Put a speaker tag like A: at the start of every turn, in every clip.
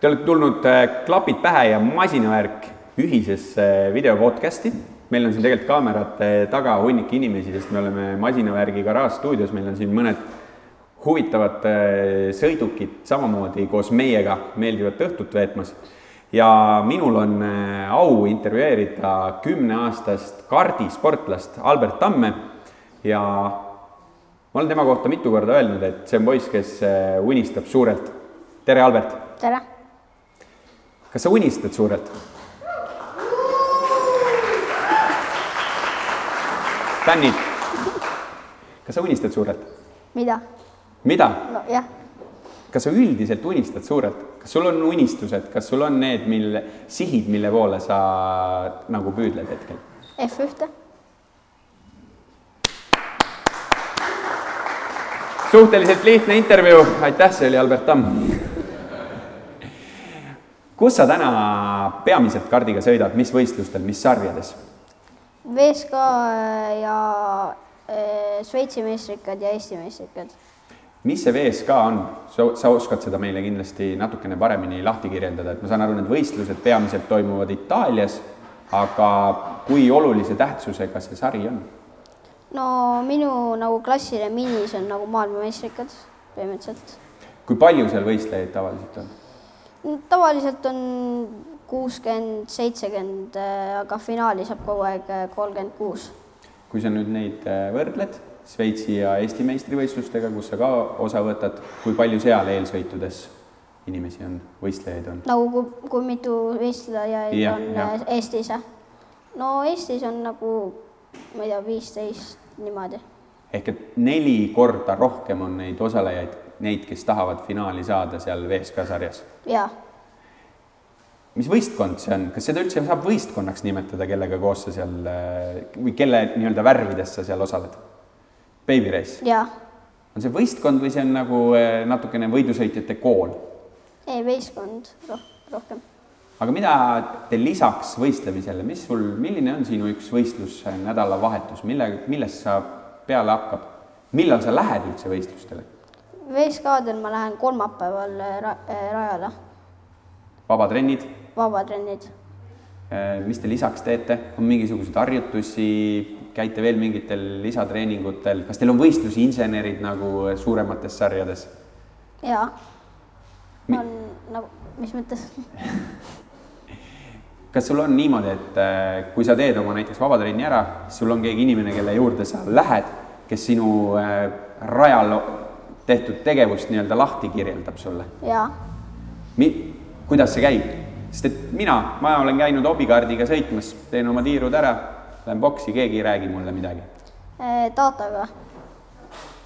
A: Te olete tulnud äh, klapid pähe ja masinavärk ühisesse videopodcasti. meil on siin tegelikult kaamerate taga hunnik inimesi, sest me oleme masinavärgi garaažstuudios, meil on siin mõned huvitavad äh, sõidukid samamoodi koos meiega meeldivat õhtut veetmas. ja minul on äh, au intervjueerida kümneaastast kardisportlast Albert Tamme ja ma olen tema kohta mitu korda öelnud, et see on poiss, kes äh, unistab suurelt. tere, Albert!
B: tere .
A: kas sa unistad suurelt ? fännid , kas sa unistad suurelt ?
B: mida ?
A: mida ?
B: nojah ,
A: kas sa üldiselt unistad suurelt , kas sul on unistused , kas sul on need , mille , sihid , mille poole sa nagu püüdled hetkel ?
B: F1-te .
A: suhteliselt lihtne intervjuu , aitäh , see oli Albert Tamm . kus sa täna peamiselt kardiga sõidad , mis võistlustel , mis sarjades ?
B: VSK ja äh, Šveitsi meistrikad ja Eesti meistrikad .
A: mis see VSK on , sa , sa oskad seda meile kindlasti natukene paremini lahti kirjeldada , et ma saan aru , need võistlused peamiselt toimuvad Itaalias , aga kui olulise tähtsusega see sari on ?
B: no minu nagu klassile minis on nagu maailmameistrikad põhimõtteliselt .
A: kui palju seal võistlejaid tavaliselt on ?
B: tavaliselt on kuuskümmend , seitsekümmend , aga finaali saab kogu aeg eh, kolmkümmend kuus .
A: kui sa nüüd neid äh, võrdled Šveitsi ja Eesti meistrivõistlustega , kus sa ka osa võtad , kui palju seal eelsõitudes inimesi on , võistlejaid on ?
B: nagu kui, kui mitu võistlejaid
A: Jah,
B: on
A: jah.
B: äh, Eestis ? no Eestis on nagu , ma ei tea , viisteist niimoodi
A: ehk et neli korda rohkem on neid osalejaid , neid , kes tahavad finaali saada seal VSK sarjas
B: ja
A: mis võistkond see on , kas seda üldse saab võistkonnaks nimetada , kellega koos sa seal äh, või kelle nii-öelda värvides sa seal osaled ? Baby Race ,
B: ja
A: on see võistkond või see on nagu äh, natukene võidusõitjate kool ?
B: ei , võistkond roh- , rohkem .
A: aga mida te lisaks võistlemisele , mis sul , milline on sinu üks võistlus , nädalavahetus , mille , millest sa peale hakkab , millal sa lähed üldse võistlustele ?
B: VSK-del ma lähen kolmapäeval äh, ra- äh, rajale ,
A: vabatrennid ,
B: vabatrennid .
A: Äh, mis te lisaks teete , on mingisuguseid harjutusi , käite veel mingitel lisatreeningutel , kas teil on võistlusinsenerid nagu suuremates sarjades ?
B: ja
A: Mi-
B: on nagu , mis mõttes ?
A: kas sul on niimoodi , et äh, kui sa teed oma näiteks vabatrenni ära , siis sul on keegi inimene , kelle juurde sa lähed , kes sinu äh, rajal tehtud tegevust nii-öelda lahti kirjeldab sulle ?
B: ja ,
A: mi- , kuidas see käib , sest et mina , ma olen käinud hobikaardiga sõitmas , teen oma tiirud ära , lähen boksi , keegi ei räägi mulle midagi .
B: Äh, Tataga .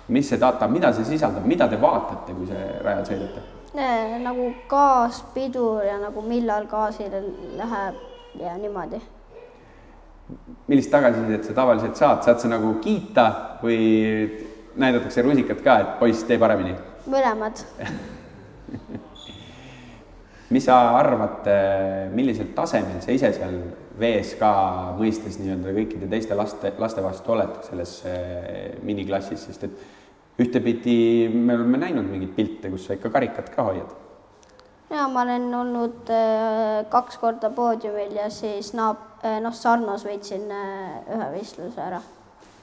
A: mis see data , mida see sisaldab , mida te vaatate , kui see rajal sõidate ?
B: nagu gaaspidur ja nagu millal gaasile läheb ja niimoodi .
A: millist tagasisidet sa tavaliselt saad , saad sa nagu kiita või näidatakse rusikat ka , et poiss , tee paremini ?
B: mõlemad .
A: mis sa arvad , millisel tasemel sa ise seal VSK mõistes nii-öelda kõikide teiste laste , laste vastu oled selles eh, miniklassis , sest et ühtepidi me oleme näinud mingeid pilte , kus sa ikka karikat ka hoiad .
B: ja ma olen olnud äh, kaks korda poodiumil ja siis naab- , noh , Sarnos võitsin äh, ühe võistluse ära .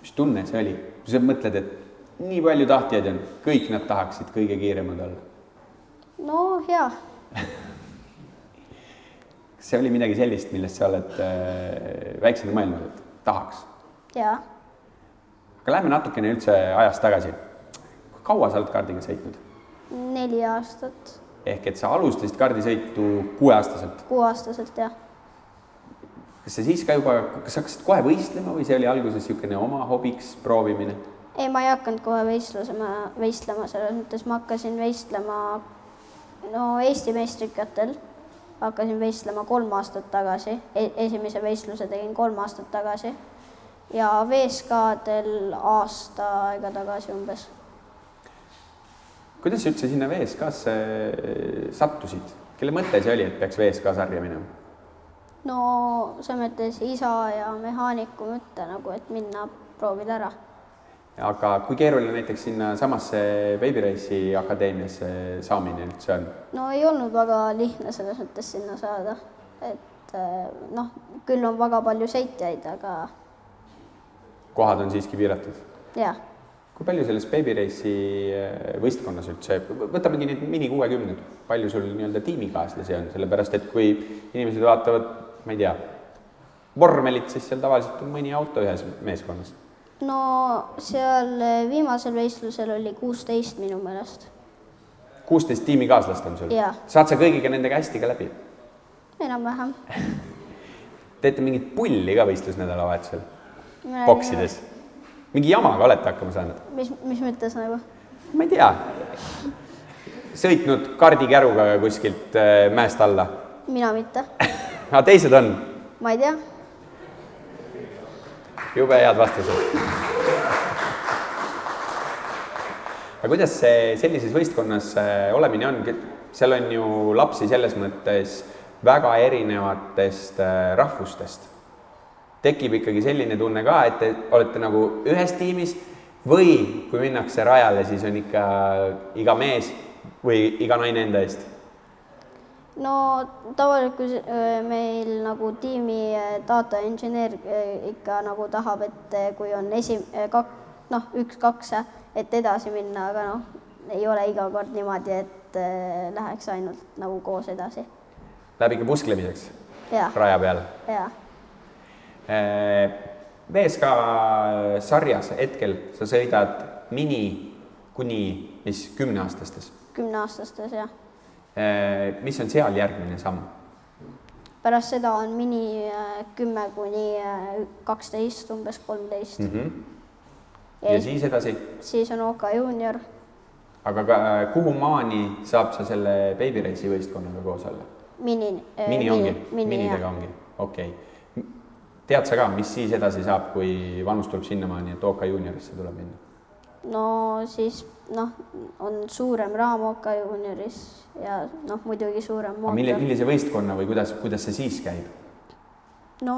A: mis tunne see oli , kui sa mõtled , et nii palju tahtjaid on , kõik nad tahaksid kõige kiiremad olla
B: no hea
A: kas see oli midagi sellist , millest sa oled äh, väiksena mõelnud , et tahaks ?
B: ja
A: aga lähme natukene üldse ajas tagasi . kui kaua sa oled kaardiga sõitnud ?
B: neli aastat ,
A: ehk et sa alustasid kaardisõitu kuueaastaselt .
B: kuueaastaselt jah .
A: kas sa siis ka juba , kas sa hakkasid kohe võistlema või see oli alguses niisugune oma hobiks proovimine ?
B: ei , ma ei hakanud kohe võistlusema , võistlema selles mõttes , ma hakkasin võistlema no Eesti meistrikatel , hakkasin võistlema kolm aastat tagasi e , esimese võistluse tegin kolm aastat tagasi ja VSK-del aasta aega tagasi umbes .
A: kuidas sa üldse sinna VSK-sse äh, sattusid ? kelle mõte see oli , et peaks VSK sarja minema ?
B: no selles mõttes isa ja mehaaniku mõte nagu , et minna proovida ära .
A: aga kui keeruline näiteks sinnasamasse Babyrace'i akadeemiasse saamine üldse on?
B: no ei olnud väga lihtne selles mõttes sinna saada, et äh, noh, küll on väga palju sõitjaid, aga
A: kohad on siiski piiratud?
B: jah,
A: kui palju selles Babyrace'i äh, võistkonnas üldse, võtamegi need mini kuuekümned, palju sul nii-öelda tiimikaaslasi on, sellepärast et kui inimesed vaatavad, ma ei tea, vormelit, siis seal tavaliselt on mõni auto ühes meeskonnas.
B: no seal äh, viimasel võistlusel oli kuusteist minu meelest,
A: kuusteist tiimikaaslast on sul
B: Jaa.
A: saad sa kõigiga nendega hästi ka läbi?
B: enam-vähem .
A: teete mingit pulli ka võistlusnädalavahetusel, boksides? mingi jamaga olete hakkama saanud?
B: mis , mis mõttes nagu ?
A: ma ei tea , sõitnud kardikäruga kuskilt äh, mäest alla ,
B: mina mitte ,
A: aga teised on
B: ma ei tea ,
A: jube head vastused . aga kuidas see sellises võistkonnas äh, olemine on , seal on ju lapsi selles mõttes väga erinevatest äh, rahvustest . tekib ikkagi selline tunne ka , et te olete nagu ühes tiimis või kui minnakse rajale , siis on ikka iga mees või iga naine enda eest .
B: no tavaliselt , kui see- öö, meil nagu tiimi äh, data engineer äh, ikka nagu tahab , et äh, kui on esi- , kak- , noh , üks-kaks , et edasi minna , aga noh , ei ole iga kord niimoodi , et äh, läheks ainult nagu koos edasi .
A: Läheb ikka pusklemiseks
B: ja ,
A: raja peal
B: ja
A: Äh, VSK äh, sarjas hetkel sa sõidad mini kuni mis kümneaastastes .
B: kümneaastastes ja
A: mis on seal järgmine samm?
B: pärast seda on mini äh, kümme kuni äh, kaksteist , umbes kolmteist .
A: Mm. ja siis edasi ,
B: siis on OK juunior
A: aga ka, äh, kuhu maani saab sa selle Baby Race'i võistkonnaga koos olla ?
B: mini .
A: Äh, mini ongi , minidega . ongi , okei okay. . tead sa ka , mis siis edasi saab , kui vanus tuleb sinnamaani , et OK juuniorisse tuleb minna ?
B: no siis noh , on suurem raam OK juunioris ja noh , muidugi suurem
A: aga mille ,
B: mootor .
A: millise võistkonna või kuidas , kuidas see siis käib ?
B: no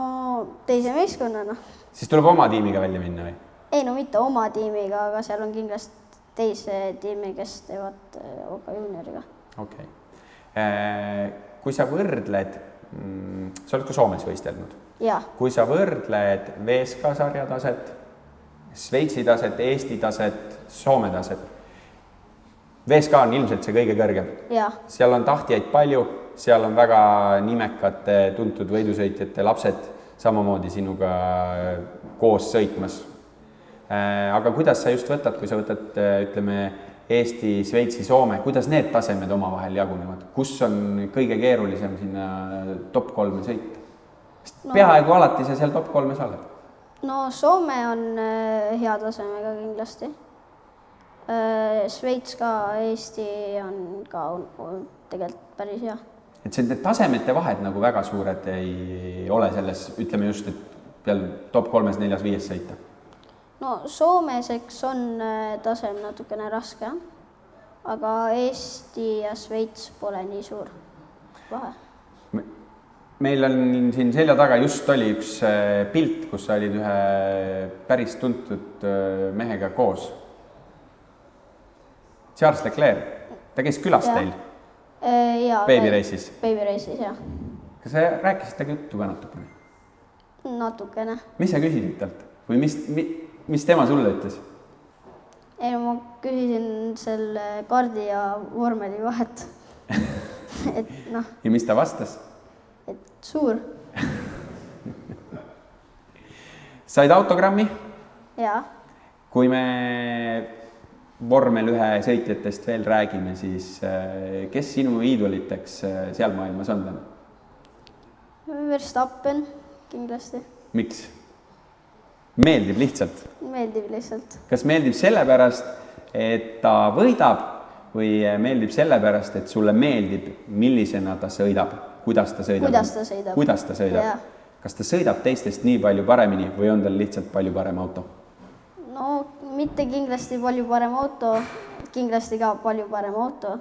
B: teise meeskonnana ,
A: siis tuleb oma tiimiga välja minna või ?
B: ei no mitte oma tiimiga , aga seal on kindlasti teise tiimi , kes teevad eh, OK juunioriga .
A: okei okay. . kui sa võrdled , sa oled ka Soomes võistelnud ,
B: ja
A: kui sa võrdled VSK sarja taset , Šveitsi taset , Eesti taset , Soome taset , VSK on ilmselt see kõige kõrgem ,
B: ja
A: seal on tahtjaid palju , seal on väga nimekate tuntud võidusõitjate lapsed samamoodi sinuga koos sõitmas . aga kuidas sa just võtad , kui sa võtad , ütleme , Eesti , Šveitsi , Soome , kuidas need tasemed omavahel jagunevad , kus on kõige keerulisem sinna top kolme sõita ? sest
B: No-
A: peaaegu alati sa seal top kolmes oled .
B: no Soome on eh, hea tasemega kindlasti . Šveits ka , Eesti on ka on- on tegelikult päris hea
A: et see , need tasemete vahed nagu väga suured ei ole selles , ütleme just , et peal top kolmes , neljas , viies sõita
B: no Soomes , eks on äh, tasem natukene raske , aga Eesti ja Šveits pole nii suur vahe .
A: Me- meil on siin selja taga just oli üks äh, pilt , kus sa olid ühe äh, päris tuntud äh, mehega koos . Charles Leclerc , ta käis külas
B: Jah.
A: teil
B: ja .
A: beebireisis .
B: beebireisis jah ,
A: kas sa rääkisid temaga juttu ka natukene ?
B: natukene .
A: mis sa küsisid talt või mis mi, , mis tema sulle ütles ?
B: ei no ma küsisin selle kaardi ja vormeli vahet . et noh ,
A: ja mis ta vastas ?
B: et suur
A: said autogrammi ,
B: ja ,
A: kui me vormel ühe sõitjatest veel räägime , siis äh, kes sinu iidoliteks äh, seal maailmas on täna ?
B: Verstappen kindlasti ,
A: miks ? meeldib lihtsalt .
B: meeldib lihtsalt .
A: kas meeldib sellepärast , et ta võidab või meeldib sellepärast , et sulle meeldib , millisena ta sõidab , kuidas ta sõidab ?
B: Kuidas ta sõidab.
A: kuidas ta
B: Jaa.
A: sõidab ? kas ta sõidab teistest nii palju paremini või on tal lihtsalt palju parem auto ?
B: no mitte kindlasti palju parem auto , kindlasti ka palju parem auto ,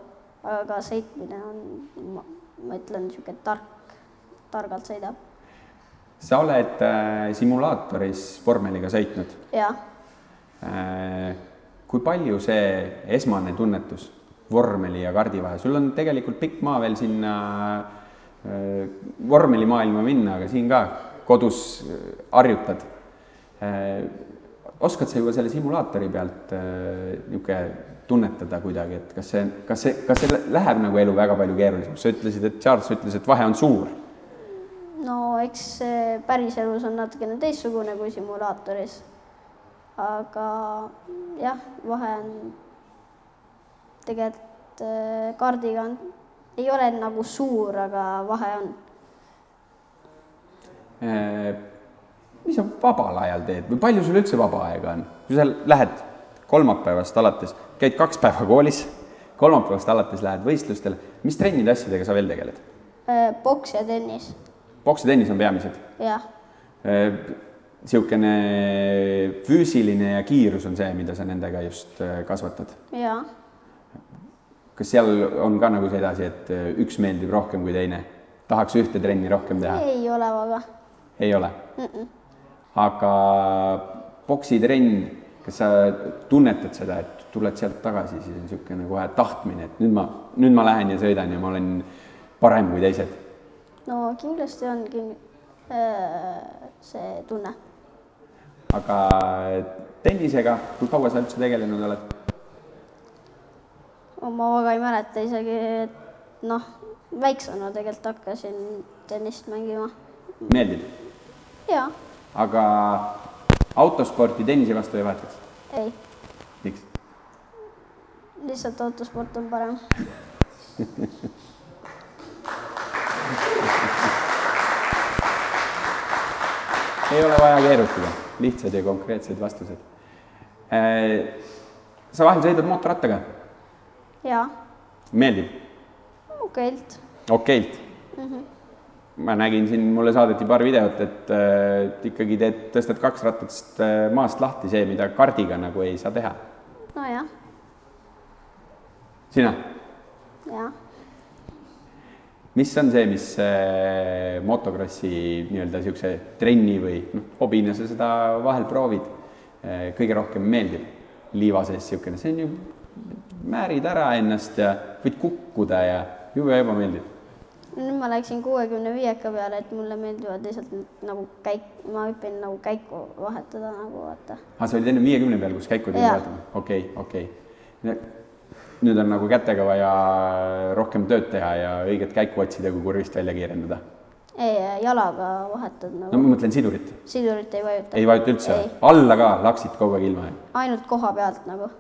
B: aga sõitmine on , ma ütlen , niisugune tark , targalt sõidab
A: sa oled äh, simulaatoris vormeliga sõitnud
B: ja ,
A: Äh, kui palju see esmane tunnetus vormeli ja kardi vahel, sul on tegelikult pikk maa veel sinna äh, vormelimaailma minna, aga siin ka kodus äh, harjutad äh,. oskad sa juba selle simulaatori pealt niisugune tunnetada kuidagi, et kas see, kas see, kas see läheb nagu elu väga palju keerulisemaks, sa ütlesid, et Charles ütles, et vahe on suur
B: no eks see päriselus on natukene teistsugune kui simulaatoris. aga jah, vahe on tegelikult äh, kaardiga on, ei ole nagu suur, aga vahe on.
A: Äh, mis sa vabal ajal teed või palju sul üldse vaba aega on? kui sa lähed kolmapäevast alates, käid kaks päeva koolis, kolmapäevast alates lähed võistlustele, mis trennide asjadega sa veel tegeled?
B: Poks Äh, ja tennis,
A: poks ja tennis on peamised. Äh,
B: jah,
A: niisugune füüsiline ja kiirus on see, mida sa nendega just eh, kasvatad.
B: ja
A: kas seal on ka nagu sedasi, et eh, üks meeldib rohkem kui teine? tahaks ühte trenni rohkem teha?
B: ei ole väga.
A: ei ole mm? -mm. aga poksitrenn, kas sa tunnetad seda, et tuled sealt tagasi, siis on niisugune kohe tahtmine, et nüüd ma, nüüd ma lähen ja sõidan ja ma olen parem kui teised.
B: no kindlasti on kin- , see tunne.
A: aga tennisega, kui kaua sa üldse tegelenud oled?
B: ma väga ei mäleta isegi , et noh , väiksena tegelikult hakkasin tennist mängima
A: meeldib?
B: ja
A: aga autosporti tennise vastu ei vahetaks?
B: ei ,
A: miks ?
B: lihtsalt autosport on parem .
A: ei ole vaja keerutada, lihtsad ja konkreetsed vastused . sa vahel sõidad mootorrattaga,
B: ja
A: meeldib?
B: okeilt ,
A: okeilt mm . -hmm. ma nägin siin , mulle saadeti paar videot , et äh, ikkagi teed , tõstad kaks ratast äh, maast lahti , see , mida kardiga nagu ei saa teha .
B: nojah ,
A: sina ,
B: ja
A: mis on see , mis äh, motokrossi nii-öelda niisuguse trenni või noh , hobina sa seda vahel proovid äh, , kõige rohkem meeldib liiva sees niisugune , see on ju , määrid ära ennast ja võid kukkuda ja jube ebameeldiv .
B: nüüd ma läksin kuuekümne viieka peale , et mulle meeldivad lihtsalt n- nagu käik , ma hüppin nagu käiku vahetada nagu vaata .
A: aa , sa olid enne viiekümne peal , kus käiku tuli
B: Jaa.
A: vaatama , okei , okei . nüüd on nagu kätega vaja rohkem tööd teha ja õiget käiku otsida , kui kurvist välja kiirendada .
B: ei , jalaga vahetad
A: no
B: nagu no, ,
A: ma mõtlen sidurit ,
B: sidurit ei vajuta .
A: ei vajuta üldse , alla ka laksid kogu aeg ilma .
B: ainult koha pealt nagu ,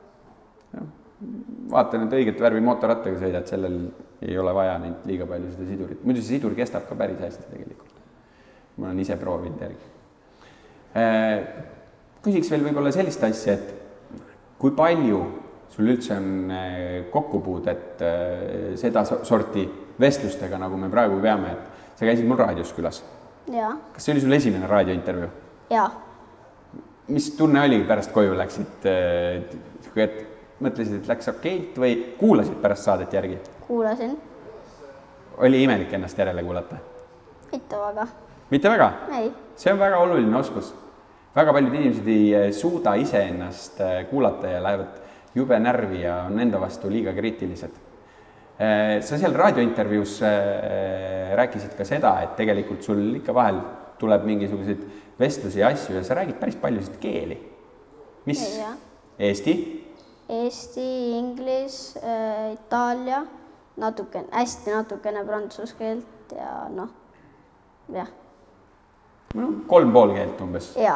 A: vaatan , et õiget värvi mootorrattaga sõidad , sellel ei ole vaja neid liiga palju seda sidurit , muidu see sidur kestab ka päris hästi tegelikult . ma olen ise proovinud järgi . küsiks veel võib-olla sellist asja , et kui palju sul üldse on eh, kokkupuudet eh, seda so- sorti vestlustega , nagu me praegu peame , et sa käisid mul raadios külas .
B: ja ,
A: kas see oli sul esimene raadiointervjuu ?
B: ja
A: mis tunne oli , kui pärast koju läksid , et mõtlesid , et läks okeilt või kuulasid pärast saadet järgi ?
B: kuulasin ,
A: oli imelik ennast järele kuulata ?
B: mitte väga ,
A: mitte väga ,
B: ei ,
A: see on väga oluline oskus . väga paljud inimesed ei eh, suuda iseennast eh, kuulata ja lähevad jube närvi ja on enda vastu liiga kriitilised . sa seal raadiointervjuus eh, rääkisid ka seda , et tegelikult sul ikka vahel tuleb mingisuguseid vestlusi ja asju ja sa räägid päris paljusid keeli . mis
B: Jah. ?
A: Eesti
B: eesti , inglise , itaalia , natukene , hästi natukene prantsuse keelt ja noh , jah ,
A: no kolm pool keelt umbes .
B: ja ,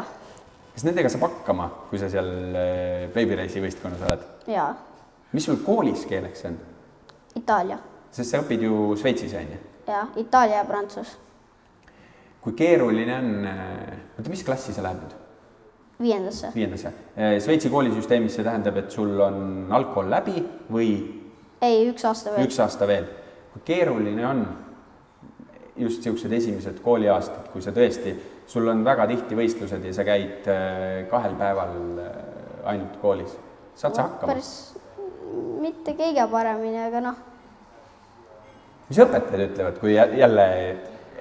A: kas nendega saab hakkama , kui sa seal äh, Babyrace'i võistkonnas oled ?
B: ja
A: mis sul koolis keeleks on ?
B: Itaalia ,
A: sest sa õpid ju Šveitsis , on ju .
B: ja Itaalia ja Prantsus ,
A: kui keeruline on , oota , mis klassi sa lähed nüüd ?
B: viiendasse ,
A: viiendasse ? Šveitsi koolisüsteemis see tähendab , et sul on algkool läbi või
B: ei üks aasta veel ,
A: üks aasta veel . kui keeruline on just niisugused esimesed kooliaastad , kui sa tõesti , sul on väga tihti võistlused ja sa käid äh, kahel päeval äh, ainult koolis , saad sa hakkama ?
B: Noh, päris mitte kõige paremini , aga noh ,
A: mis õpetajad ütlevad , kui jä- jälle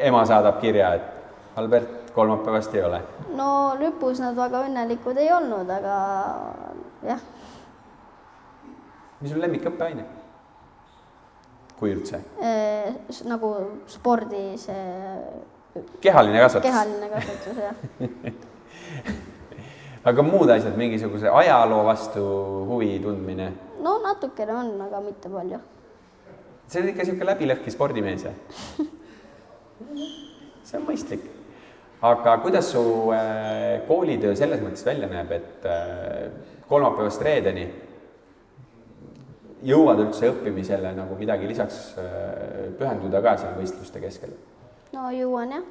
A: ema saadab kirja , et Albert , kolmapäevast ei ole .
B: no lõpus nad väga õnnelikud ei olnud , aga jah ,
A: mis on lemmikõppeaine ? kui üldse ?
B: nagu spordi see
A: kehaline kasvatus .
B: kehaline kasvatus jah .
A: aga muud asjad , mingisuguse ajaloo vastu huvi tundmine ?
B: no natukene on , aga mitte palju .
A: sa oled ikka niisugune läbilõhki spordimees , jah ? see on mõistlik . aga kuidas su äh, koolitöö selles mõttes välja näeb , et äh, kolmapäevast reedeni jõuad üldse õppimisele nagu midagi lisaks äh, pühenduda ka seal võistluste keskel ?
B: no jõuan jah ,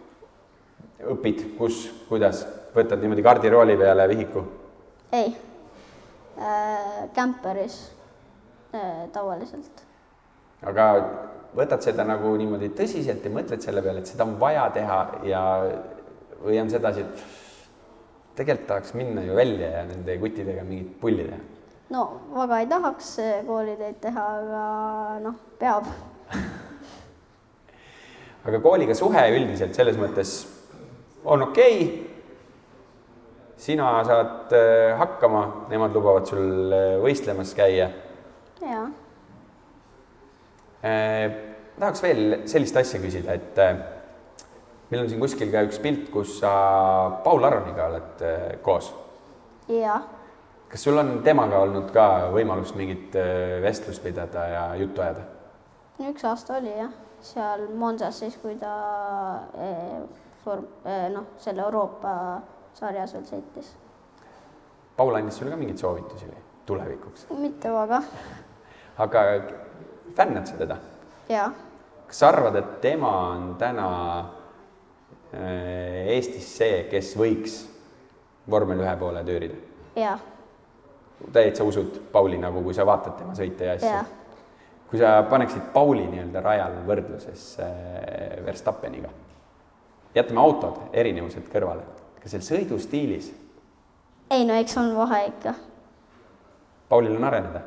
A: õpid , kus , kuidas , võtad niimoodi kardirooli peale vihiku ?
B: ei äh, , kämperis äh, tavaliselt .
A: aga võtad seda nagu niimoodi tõsiselt ja mõtled selle peale , et seda on vaja teha ja või on sedasi , et tegelikult tahaks minna ju välja ja nende kuttidega mingit pulli teha .
B: no väga ei tahaks äh, koolitöid teha , aga noh , peab .
A: aga kooliga suhe üldiselt selles mõttes on okei okay. . sina saad äh, hakkama , nemad lubavad sul äh, võistlemas käia
B: jaa ,
A: Eh, tahaks veel sellist asja küsida , et eh, meil on siin kuskil ka üks pilt , kus sa Paul Aroniga oled eh, koos .
B: jaa ,
A: kas sul on temaga olnud ka võimalust mingit eh, vestlust pidada ja juttu ajada ?
B: üks aasta oli jah , seal Monsas siis , kui ta äh, form- äh, , noh , selle Euroopa sarjas veel sõitis .
A: Paul andis sulle ka mingeid soovitusi või tulevikuks ,
B: mitte väga ,
A: aga fännad sa teda ?
B: jaa ,
A: kas sa arvad , et tema on täna eh, Eestis see , kes võiks vormel ühe poole tüürida ?
B: jaa ,
A: täitsa usud Pauli nagu , kui sa vaatad tema sõite ja asju
B: jaa ,
A: kui sa paneksid Pauli nii-öelda rajal võrdluses äh, Verstappeniga , jätame autod , erinevused kõrvale , kas seal sõidustiilis
B: ei no eks on vahe ikka ,
A: Paulil on areneda ,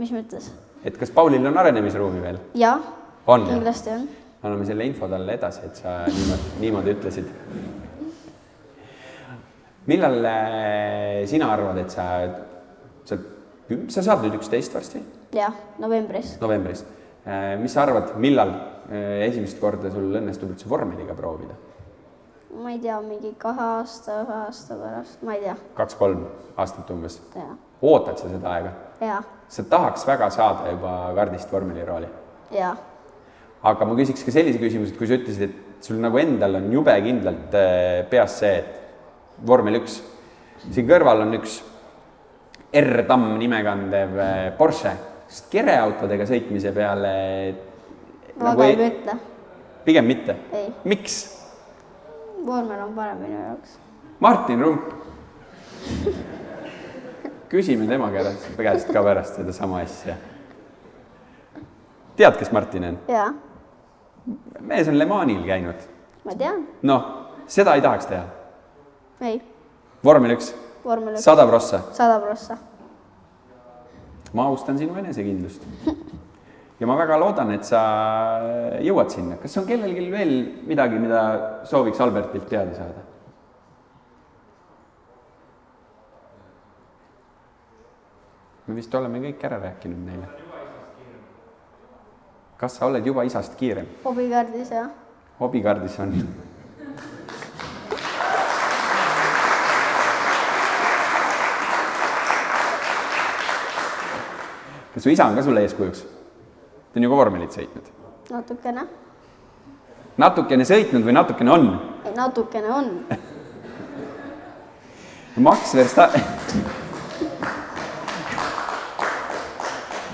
B: mis mõttes ,
A: et kas Paulil on arenemisruumi veel ?
B: jah
A: on ,
B: kindlasti on .
A: anname selle info talle edasi , et sa niimoodi, niimoodi ütlesid . millal äh, sina arvad , et sa , sa , sa saad nüüd üksteist varsti ?
B: jah , novembris .
A: novembris . mis sa arvad , millal eh, esimest korda sul õnnestub üldse vormeliga proovida ?
B: ma ei tea , mingi kahe aasta , ühe aasta pärast , ma ei tea ,
A: kaks-kolm aastat umbes .
B: ja ,
A: ootad sa seda aega ?
B: ja ,
A: sa tahaks väga saada juba kardist vormelirooli .
B: ja ,
A: aga ma küsiks ka sellise küsimuse , et kui sa ütlesid , et sul nagu endal on jube kindlalt eh, peas see , et vormel üks , siin kõrval on üks R-tamm nime kandev eh, Porsche , sest kereautodega sõitmise peale nagu
B: väga Nagu ei mõtle ,
A: pigem mitte .
B: ei ,
A: miks ?
B: vormel on parem minu jaoks .
A: Martin Rump . küsime tema käest , käest ka pärast sedasama asja . tead , kes Martin on ?
B: ja ,
A: mees on Le Manil käinud .
B: ma tean ,
A: noh , seda ei tahaks teha .
B: ei ,
A: vormel üks ,
B: vormel üks ,
A: sada prossa .
B: sada prossa ,
A: ma austan sinu enesekindlust . ja ma väga loodan , et sa jõuad sinna . kas on kellelgi veel midagi , mida sooviks Albertilt teada saada ? me vist oleme kõik ära rääkinud neile . kas sa oled juba isast kiirem ?
B: hobikaardis ja ,
A: hobikaardis on . kas su isa on ka sulle eeskujuks ? ta on ju ka vormelit sõitnud .
B: natukene ,
A: natukene sõitnud või natukene on ?
B: ei natukene on ,
A: Max Verstappen .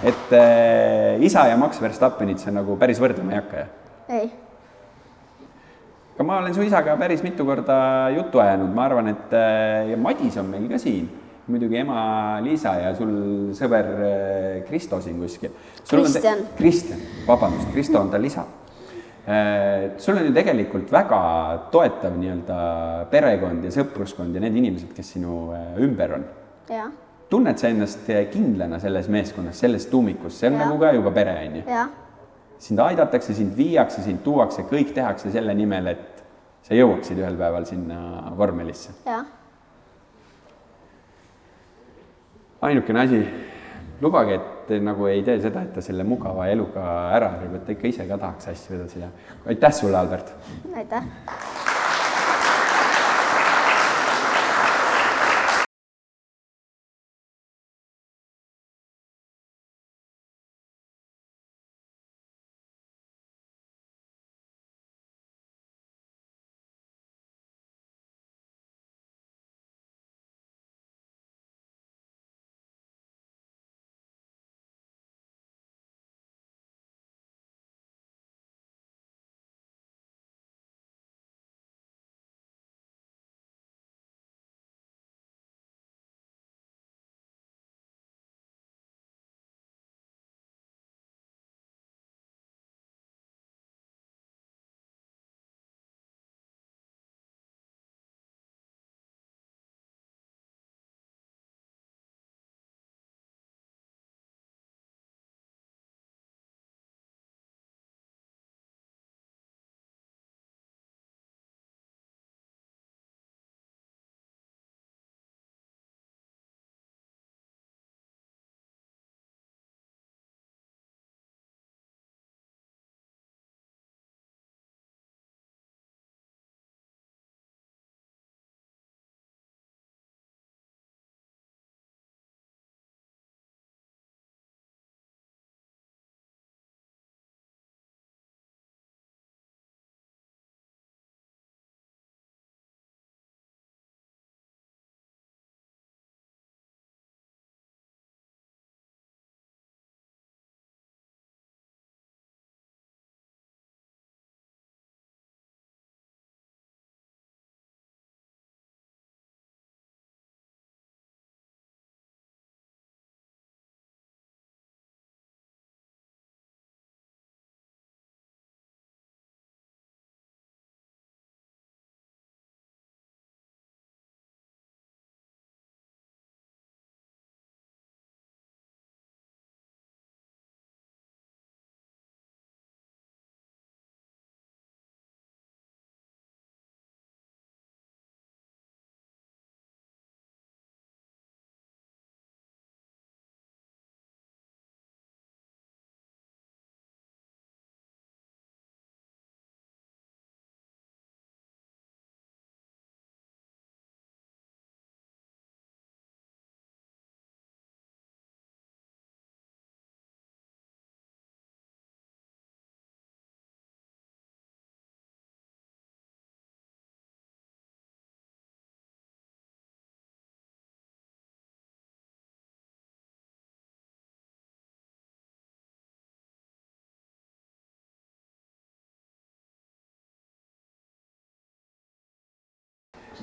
A: et äh, isa ja Max Verstappenit sa nagu päris võrdlema ei hakka , jah ?
B: ei ,
A: aga ma olen su isaga päris mitu korda juttu ajanud , ma arvan , et äh, ja Madis on meil ka siin , muidugi ema Liisa ja sul sõber äh, Kristo siin kuskil .
B: Kristjan.
A: Kristjan , vabandust , Kristo on tal isa . sul on ju tegelikult väga toetav nii-öelda perekond ja sõpruskond ja need inimesed , kes sinu äh, ümber on .
B: ja ,
A: tunned sa ennast äh, kindlana selles meeskonnas , selles tuumikus , see on
B: Jaa.
A: nagu ka juba pere , on ju ?
B: ja ,
A: sind aidatakse , sind viiakse , sind tuuakse , kõik tehakse selle nimel , et sa jõuaksid ühel päeval sinna vormelisse.
B: jah ,
A: ainukene asi , lubage , et te nagu ei tee seda , et ta selle mugava eluga ära harjub , et ta ikka ise ka tahaks asju edasi teha . aitäh sulle , Albert .
B: aitäh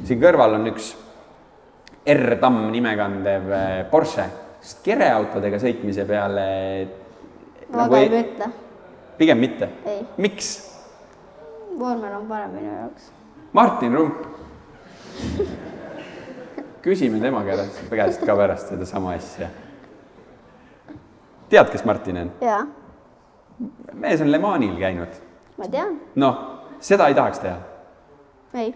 A: siin kõrval on üks R-Tamm nime kandev eh, Porsche , sest kereautodega sõitmise peale nagu
B: väga Nagu ei ütle ,
A: pigem mitte
B: Ei. .
A: miks ?
B: vormel on parem minu jaoks .
A: Martin Rump . küsime tema käest , käest ka pärast sedasama asja . tead , kes Martin on ?
B: jaa ,
A: mees on Le Manil käinud .
B: ma tean ,
A: noh , seda ei tahaks teha .
B: ei ,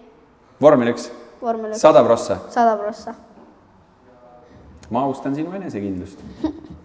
A: vormel üks ,
B: vormel üks
A: sada prossa .
B: sada prossa ,
A: ma austan sinu enesekindlust .